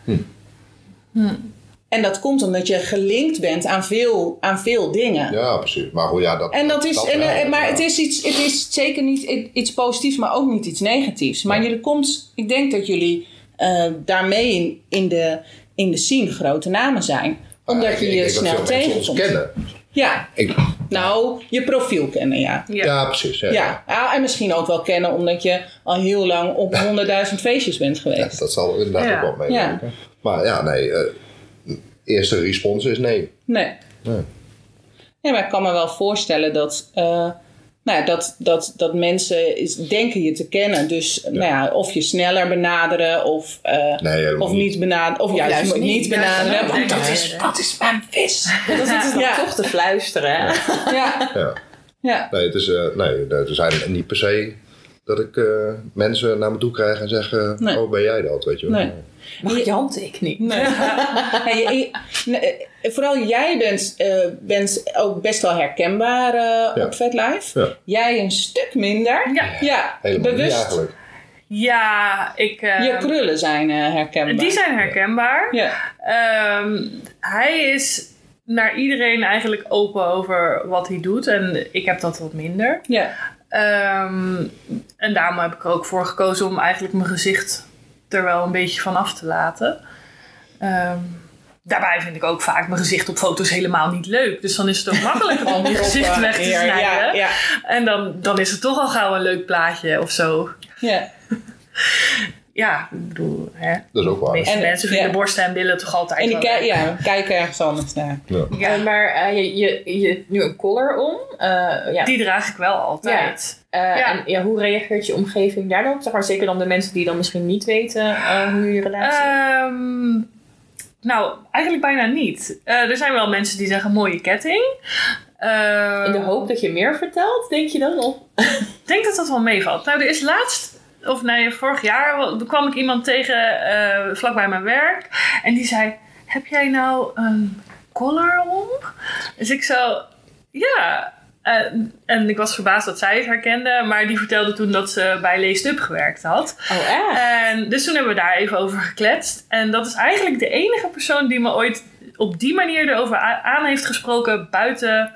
En dat komt omdat je gelinkt bent aan veel, aan veel dingen. Ja, precies. Maar goed, ja, dat... En dat is, en, wel, eh, maar ja. het is, iets, het is zeker niet i- iets positiefs, maar ook niet iets negatiefs. Maar jullie komt, ik denk dat jullie eh, daarmee in, in, de, in de scene grote namen zijn. Omdat Ja, ik- je ik je denk dat snel veel mensen ons tegenkomt. kennen. Ja, Ik, nou, je profiel kennen, ja. Ja. ja. precies. Ja. Ja, Ah, en misschien ook wel kennen omdat je al heel lang [LAUGHS] op 100.000 feestjes bent Ja, geweest. dat zal inderdaad Ja. ook wel meewerken. Maar ja, nee. eh, eerste respons is nee. Nee. Nee. Nee, maar ik kan me wel voorstellen dat, eh, nou ja, dat, dat, dat mensen is, denken je te kennen. Dus nou ja, of je sneller benaderen of, eh, Nee, helemaal of niet benaderen. Of, juist, juist niet, niet. benaderen. Ja, want dat nee, is, nee. dat is mijn vis. Dan zitten ze Ja. dan toch te fluisteren. hè? Ja, Ja. ja. Nee, het is, eh, nee, er zijn niet per se dat ik eh, mensen naar me toe krijg en zeg... eh, Nee. Oh, ben jij dat, weet je wel. Nee. Mag ik je handtekening? Nee. [LAUGHS] Nee, je- je- nee, eh, vooral jij bent, eh, bent ook best wel herkenbaar eh, Ja. op VetLife. Ja. Jij een stuk minder. Ja. Ja, Helemaal niet bewust. eigenlijk. Ja, ik... eh, Je krullen zijn eh, herkenbaar. die zijn herkenbaar. Ja, Ehm, hij is naar iedereen eigenlijk open over wat hij doet. En ik heb dat wat minder. ja, Ehm, en daarom heb ik er ook voor gekozen om eigenlijk mijn gezicht er wel een beetje van af te laten. Ehm, daarbij vind ik ook vaak mijn gezicht op foto's helemaal niet leuk. Dus dan is het ook makkelijker om [LAUGHS] je gezicht Ah, weg te Oh, Ja, snijden. ja, ja. En dan, dan is het toch al gauw een leuk plaatje of zo. ja. Ja, ik bedoel, hè. de Dat is ook waar. meeste En- mensen vinden ja. borsten en billen toch altijd En die wel kijk, leuk. ja, we kijken ergens anders naar. Ja. Ja. Eh, maar eh, je, je, je hebt nu een collar om. Eh, ja. Die draag ik wel altijd. Eh, ja. En ja, hoe reageert je omgeving daar dan op? Zeg maar, zeker dan de mensen die dan misschien niet weten eh, hoe je relatie Ehm, nou, eigenlijk bijna niet. Eh, er zijn wel mensen die zeggen mooie ketting. Ehm, In de hoop dat je meer vertelt, denk je dan? Of, Ik denk dat dat wel meevalt. Nou, er is laatst, of nee, vorig jaar wel- kwam ik iemand tegen eh vlakbij mijn werk. En die zei, heb jij nou een collar om? Dus ik zo, ja. En, en ik was verbaasd dat zij het herkende. Maar die vertelde toen dat ze bij Leest Up gewerkt had. oh, echt? En dus toen hebben we daar even over gekletst. En dat is eigenlijk de enige persoon die me ooit op die manier erover a- aan heeft gesproken buiten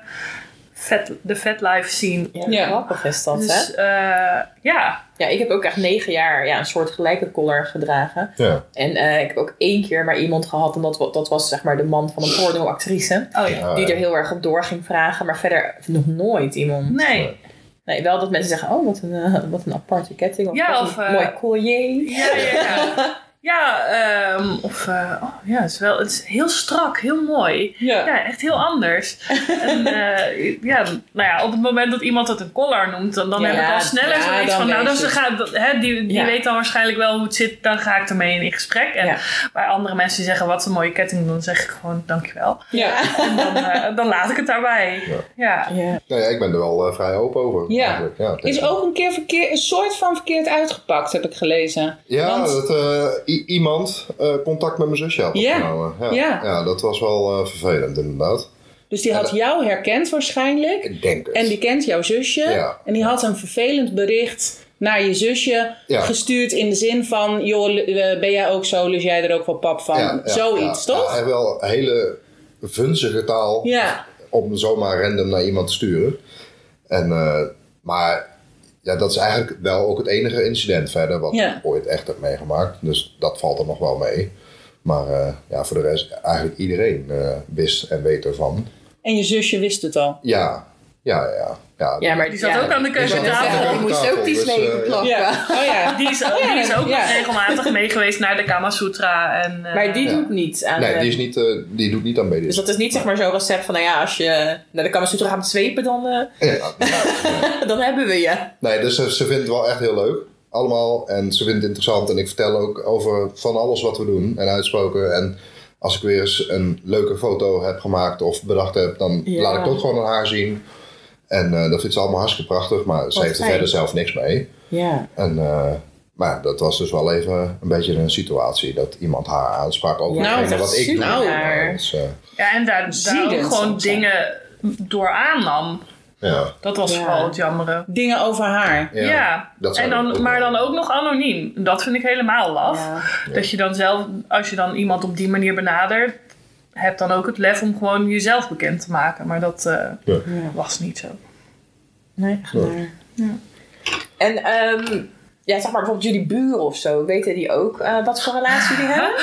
vet, de fatlife scene. ja, ja. grappig is dat, Dus hè? eh, ja, Ja, ik heb ook echt negen jaar ja, een soort gelijke collar gedragen. Ja. En eh, ik heb ook één keer maar iemand gehad. En dat, wa- dat was zeg maar de man van een pornoactrice. oh ja. Die Ah, ja. er heel erg op door ging vragen. Maar verder nog nooit iemand. Nee. Nee, wel dat mensen zeggen, oh, wat een, eh, wat een aparte ketting. Of Ja, wat of, een eh, mooi collier. Ja, ja, ja. Ja, ehm, of eh, oh, ja, het is wel het is heel strak, heel mooi. Ja. Ja, echt heel anders. En, eh, ja, nou ja, op het moment dat iemand het een collar noemt, dan, dan Ja, heb ik al sneller ja, zoiets dan van, nou, weet dan je ga, hè, die, die Ja. weet dan waarschijnlijk wel hoe het zit, dan ga ik ermee in gesprek. En Ja. bij andere mensen die zeggen, wat een mooie ketting, dan zeg ik gewoon, dankjewel. Ja. En dan, eh, dan laat ik het daarbij. Ja. Ja. Ja. Nou ja, ik ben er wel eh, vrij open over. Ja. eigenlijk. ja het Is ook een keer verkeer, een soort van verkeerd uitgepakt, heb ik gelezen. Ja, Want- dat eh, i- iemand eh, contact met mijn zusje had Ja. opgenomen. Ja. Ja. Ja, dat was wel eh, vervelend inderdaad. Dus die had dat- jou herkend waarschijnlijk. Ik denk het. En die kent jouw zusje. Ja. En die had een vervelend bericht naar je zusje Ja. gestuurd. In de zin van, joh, l- eh, ben jij ook zo? Dus jij er ook wel pap van? Ja, ja, Zoiets, ja. toch? Ja, en wel een hele vunzige taal Ja. om zomaar random naar iemand te sturen. En, eh, maar ja, dat is eigenlijk wel ook het enige incident verder wat Ja. ik ooit echt heb meegemaakt. Dus dat valt er nog wel mee. Maar eh, ja, voor de rest, eigenlijk iedereen eh, wist en weet ervan. En je zusje wist het al. Ja, ja, ja. Ja, Dus Ja, maar Die zat ook aan de Die zat ook keukentafel. aan de Ik moest ook die dus, snee eh, plakken. Oh ja. Die is, ook- die is ook Ja. nog regelmatig mee geweest naar de Kama Sutra. En, eh, Maar die Ja. doet niet aan Nee, de- die, is niet, eh, die doet niet aan BDSM. Dus dat is niet zeg maar zo'n recept van, nou ja, als je naar de Kama Sutra gaat zwepen, dan, eh, Ja, [LAUGHS] dan hebben we je. Nee, dus ze, ze vindt het wel echt heel leuk. Allemaal. En ze vindt het interessant. En ik vertel ook over van alles wat we doen. En uitsproken. En als ik weer eens een leuke foto heb gemaakt of bedacht heb, dan Ja. laat ik het ook gewoon aan haar zien. En eh, dat vindt ze allemaal hartstikke prachtig. Maar ze Wat heeft er fijn. verder zelf niks mee. Ja. En, eh, maar dat was dus wel even een beetje een situatie dat iemand haar aansprak over Nou, hetgene dat wat is ik doe. super raar. Ja, dus, eh, ja, en daar, daar dit ook gewoon soms, ja. dingen door aannam. ja. Dat was Ja. vooral het jammere. Dingen over haar. Ja, dat zou en ik dan, ook maar wel. dan ook nog anoniem. Dat vind ik helemaal laf. Ja. Dat je dan zelf, als je dan iemand op die manier benadert, heb dan ook het lef om gewoon jezelf bekend te maken. Maar dat eh, Ja. was niet zo. Nee, echt waar. En ehm, ja, zeg maar bijvoorbeeld jullie buren of zo, weten die ook eh, wat voor relatie die hebben? [LAUGHS]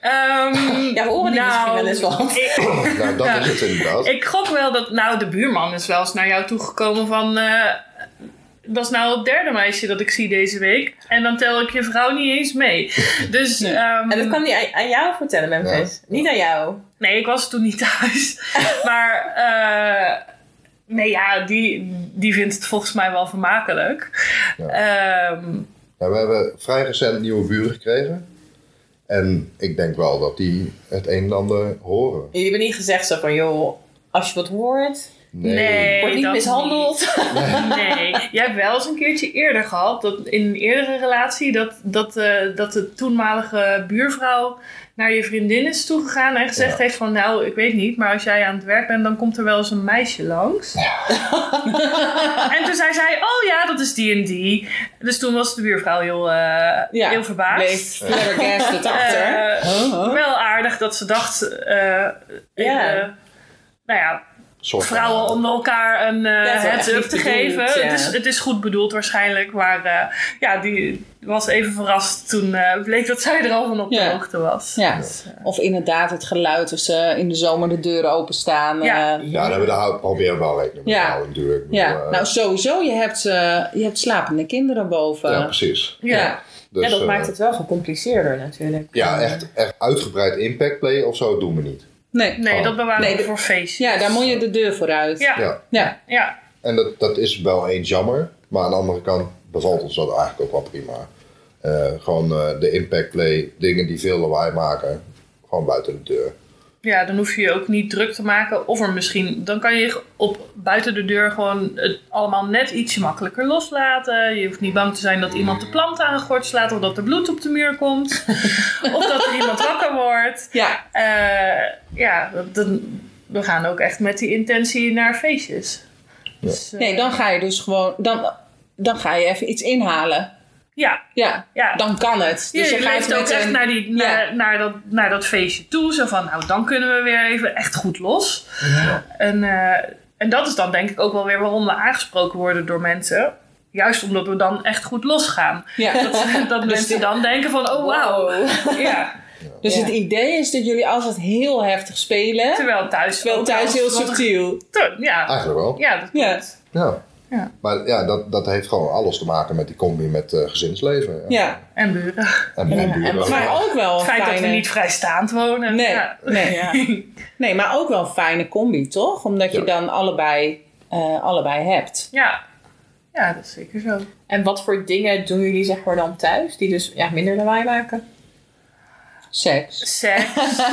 Ehm, Ja, horen Oh, die misschien wel eens wat? Ik, [LAUGHS] Nou, dat Ja. is het inderdaad. ik gok wel dat, nou, de buurman is wel eens naar jou toegekomen van. eh, dat is nou het derde meisje dat ik zie deze week. En dan tel ik je vrouw niet eens [LAUGHS] mee. Dus, ehm, En dat kan die aan, aan jou vertellen, Memphis. Niet aan jou. Nee, ik was toen niet thuis. [LAUGHS] maar eh, nee, ja, die, die vindt het volgens mij wel vermakelijk. Ja. Ehm, Ja, Nou, we hebben vrij recent nieuwe buren gekregen. En ik denk wel dat die het een en ander horen. Jullie hebben niet gezegd zo van, joh, als je wat hoort, Nee. Nee. word niet dat mishandeld. nee, jij hebt wel eens een keertje eerder gehad, dat in een eerdere relatie, dat, dat, eh, dat de toenmalige buurvrouw naar je vriendin is toegegaan en gezegd Ja. heeft van, nou, ik weet niet, maar als jij aan het werk bent, dan komt er wel eens een meisje langs. [LAUGHS] en toen zei zij, oh ja, dat is die en die. Dus toen was de buurvrouw heel, eh, Ja, heel verbaasd. Bleef flabbergasted achter. Eh, Oh, Huh, huh. Wel aardig dat ze dacht, eh, Ja. eh, nou ja, Soort van. vrouwen onder elkaar een eh Ja, het is wel echt heads-up niet te bedoeld, geven. ja. Het, is, het is goed bedoeld waarschijnlijk, maar eh, ja, die was even verrast toen eh, bleek dat zij er al van op Ja. de hoogte was. Ja. Of inderdaad het geluid als ze in de zomer de deuren openstaan. Ja. eh, Ja, daar hebben we daar proberen we wel rekening mee te Ja. houden natuurlijk. Ik bedoel, ja. eh, Nou, sowieso, je hebt, eh, je hebt slapende kinderen boven. ja, precies. Ja. Dus, ja, dat eh, maakt het wel gecompliceerder natuurlijk. Eh, Ja, echt, echt uitgebreid impactplay of zo doen we niet. Nee. Nee, Oh. dat bewaren Nee, we de- voor feestjes. Ja, daar moet je de deur voor uit. Ja, ja. Ja. Ja. En dat, dat is wel eens jammer. Maar aan de andere kant bevalt ons dat eigenlijk ook wel prima. Eh, gewoon eh, de impactplay, dingen die veel lawaai maken, gewoon buiten de deur. Ja, dan hoef je je ook niet druk te maken. Of er misschien, dan kan je op, buiten de deur gewoon het allemaal net ietsje makkelijker loslaten. Je hoeft niet bang te zijn dat iemand de plant aangort slaat. Of dat er bloed op de muur [LAUGHS] komt. of dat er iemand wakker wordt. Ja. Eh, ja, dat- dat- we gaan ook echt met die intentie naar feestjes. Dus, eh, Nee, dan ga je dus gewoon... Dan, dan ga je even iets inhalen. Ja, Ja. ja. Dan kan het. Dus Ja, je leeft ook echt een- naar, die, Ja. naar, naar, dat, naar dat feestje toe. Zo van, nou, dan kunnen we weer even echt goed los. En, eh, en dat is dan denk ik ook wel weer waarom we aangesproken worden door mensen. Juist omdat we dan echt goed losgaan. Ja. [LAUGHS] Dat, dat mensen dan denken van, oh [LAUGHS] wauw. Ja, Dus Ja. het idee is dat jullie altijd heel heftig spelen. terwijl thuis... Terwijl ook thuis wel- heel wat- subtiel. Ja, Eigenlijk wel. ja, dat Ja. klopt. Ja. Ja. Maar ja, dat, dat heeft gewoon alles te maken met die combi met eh, gezinsleven. Ja. En buren. En, en Ja, buren. en- Maar ook wel een Het feit dat fijne... we niet vrijstaand wonen. Nee, Ja. nee. [LAUGHS] nee, maar ook wel een fijne combi, toch? Omdat je Ja. dan allebei, eh, allebei hebt. ja. Ja, dat is zeker zo. En wat voor dingen doen jullie zeg maar dan thuis, die dus ja, minder lawaai maken? Seks. Seks. [LAUGHS]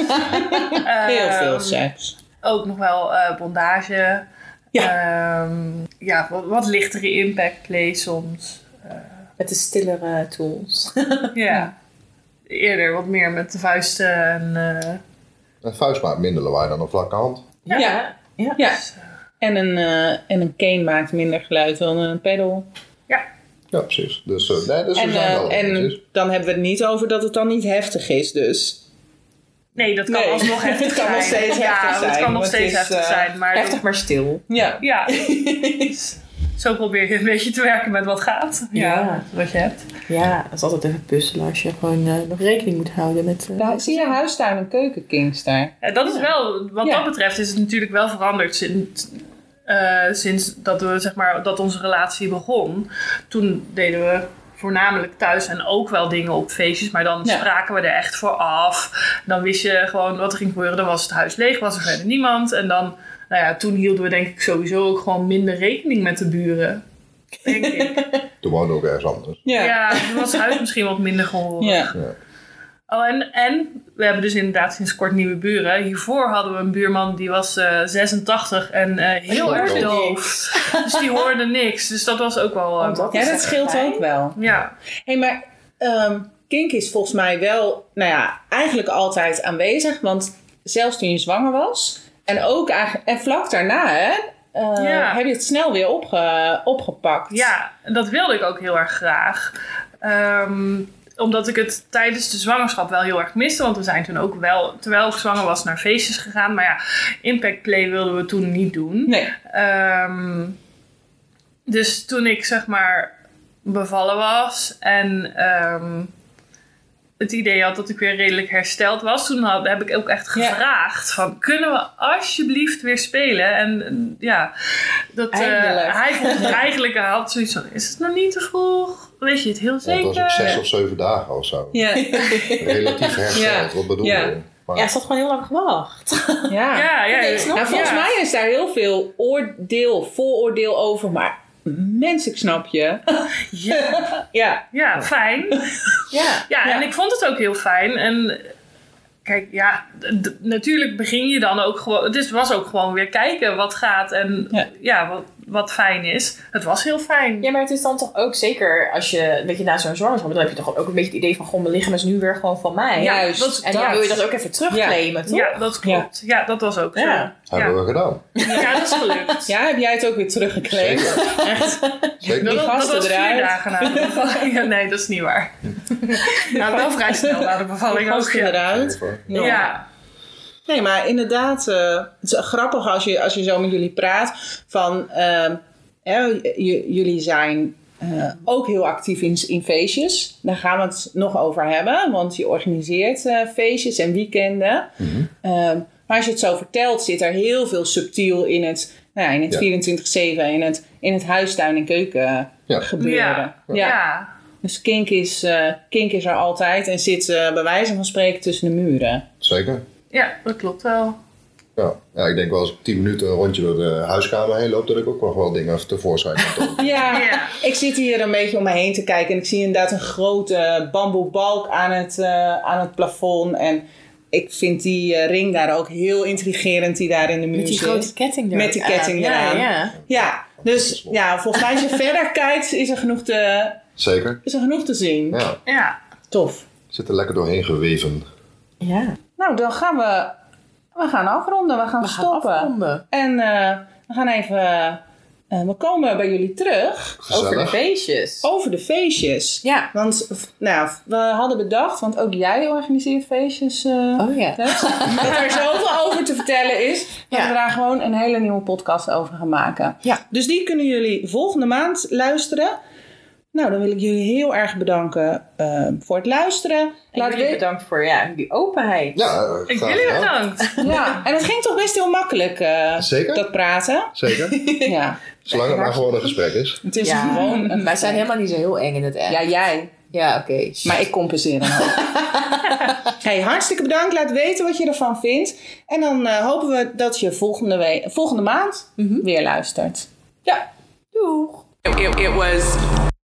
Heel Ehm, veel seks. Ook nog wel eh, bondage. Ehm, ja, wat, wat lichtere impact play [LAUGHS] soms. Met de stillere tools. Ja. Eerder wat meer met de vuisten en... eh, Een vuist maakt minder lawaai dan een vlakke hand. Ja. Ja. Ja. Ja. En een, eh, en een cane maakt minder geluid dan een pedal. Ja, precies. Dus eh, nee, dus En, we zijn eh, wel en eventjes. dan hebben we het niet over dat het dan niet heftig is, dus. Nee, dat kan Nee, alsnog heftig [LAUGHS] het kan zijn. nog steeds ja, heftig het zijn, kan nog want steeds het is, heftig eh, zijn. Maar Heftig maar stil. Ja. ja, [LAUGHS] zo probeer je een beetje te werken met wat gaat. Ja, Ja. wat je hebt. [LAUGHS] Ja, dat is altijd even puzzelen als je gewoon eh, nog rekening moet houden met... eh, Daar zie je huistuin en keukenkings daar. Ja, Eh, dat is wel, wat Ja. dat betreft is het natuurlijk wel veranderd sinds, eh, sinds dat, we, zeg maar, dat onze relatie begon. Toen deden we voornamelijk thuis en ook wel dingen op feestjes, maar dan Ja. spraken we er echt voor af. Dan wist je gewoon wat er ging gebeuren. Dan was het huis leeg, was er verder niemand. En dan, nou ja, toen hielden we denk ik sowieso ook gewoon minder rekening met de [LAUGHS] buren. Denk ik. Toen woonde ook ergens anders. Ja. Ja, toen was het huis misschien wat minder gehoord. Ja. Oh, en, en we hebben dus inderdaad sinds kort nieuwe buren. Hiervoor hadden we een buurman die was eh, 86 en eh, heel hoorde erg niks. doof. Dus die hoorde niks. Dus dat was ook wel. eh, Oh, dat Ja, is dat echt scheelt fijn. ook wel. Ja, Hé, hey, maar ehm kink is volgens mij wel, nou ja, eigenlijk altijd aanwezig. Want zelfs toen je zwanger was, en ook eigenlijk- en vlak daarna, hè, eh, Ja. heb je het snel weer opge, opgepakt. ja, en dat wilde ik ook heel erg graag. Ehm, omdat ik het tijdens de zwangerschap wel heel erg miste. Want we zijn toen ook wel, terwijl ik zwanger was, naar feestjes gegaan. Maar ja, impact play wilden we toen niet doen. Nee. Ehm, dus toen ik zeg maar bevallen was en ehm, het idee had dat ik weer redelijk hersteld was, toen had, heb ik ook echt Ja. gevraagd van kunnen we alsjeblieft weer spelen? En en, ja, dat eh, Eindelijk. hij vond het eigenlijk hij had zoiets van is het nog niet te vroeg? Weet je het heel Dat zeker? was ook zes of zeven dagen of zo. [LAUGHS] Ja. Relatief hersteld, Ja. wat bedoel Ja. je? Maar, Ja, ze had gewoon heel lang gewacht. ja. Ja, ja, Nee, ik snap ja. Nou, volgens mij is daar heel veel oordeel, vooroordeel over, maar mens, ik snap je. [LAUGHS] Ja, [LAUGHS] Ja, ja, fijn. Ja. Ja, Ja. en ik vond het ook heel fijn. En kijk, ja, d- d- natuurlijk begin je dan ook gewoon. Het is- was ook gewoon weer kijken wat gaat en Ja. ja, wat, wat fijn is. Het was heel fijn. Ja, maar het is dan toch ook zeker als je, weet je, na zo'n zwangerschap, dan heb je toch ook een beetje het idee van, goh, mijn lichaam is nu weer gewoon van mij. Ja, juist. dat- En dan wil je dat ook even terugclamen, toch? Ja, dat klopt. Ja, dat was ook Ja. zo. Ja. hebben we gedaan. Ja, dat is gelukt. Ja, heb jij het ook weer teruggekleed? Zeker. Echt? Zeker. Dat, dat gasten was vier eruit. dagen na de bevalling. Ja, nee, dat is niet waar. Nou, wel vrij snel na de bevalling ook. Gast Ja. eruit. Zeker. Ja. Nee, maar inderdaad, eh, het is grappig als je, als je zo met jullie praat. Van, ehm, hè, j- jullie zijn eh, ook heel actief in, in feestjes. Daar gaan we het nog over hebben, want je organiseert eh, feestjes en weekenden. Mhm. Ehm, maar als je het zo vertelt, zit er heel veel subtiel in het, nou ja, in Ja. het 24-7, in het, in het huistuin- en keuken Ja. gebeuren. Ja. ja. Dus kink is, eh, kink is er altijd en zit eh, bij wijze van spreken tussen de muren. Zeker. Ja, dat klopt wel. Ja. ja, ik denk wel als ik tien minuten een rondje door de huiskamer heen loop, dat ik ook nog wel dingen even tevoorschijn kan [LAUGHS] tonen. Ja. Ik zit hier een beetje om me heen te kijken en ik zie inderdaad een grote bamboe balk aan het, eh, aan het plafond. En ik vind die eh, ring daar ook heel intrigerend die daar in de muur Met die zit. grote ketting er Met die ook aan. ketting ja, eraan. ja. Ja, dus ja, volgens mij als je [LAUGHS] verder kijkt is er genoeg te, Zeker. is er genoeg te zien. Ja, Ja. Tof. zit er lekker doorheen geweven. Ja. Nou, dan gaan we, we gaan afronden, we gaan We gaan stoppen. afronden. En eh, we gaan even, eh, we komen bij jullie terug Over de Gezellig. feestjes. over de feestjes. Ja. Want v- nou, we hadden bedacht, want ook jij organiseert feestjes. eh, Oh ja. [LAUGHS] Lex, dat er zoveel over te vertellen is. Dat Ja. we daar gewoon een hele nieuwe podcast over gaan maken. Ja. Dus die kunnen jullie volgende maand luisteren. Nou, dan wil ik jullie heel erg bedanken eh, voor het luisteren. En jullie we- bedankt voor ja, die openheid. Ja, eh, Ik graag jullie gedaan. bedankt. ja. En het ging toch best heel makkelijk, eh, Zeker. dat [LAUGHS] praten. Zeker. Ja, Zolang het maar gewoon een gesprek is. het is Ja. gewoon... Een... Wij zijn helemaal niet zo heel eng in het echt. Ja, jij. Ja, oké. Maar ik compenseer hem ook. [LAUGHS] hey, hartstikke bedankt. Laat weten wat je ervan vindt. En dan eh, hopen we dat je volgende, Mhm. we- volgende maand weer luistert. Ja. Doeg. It, it was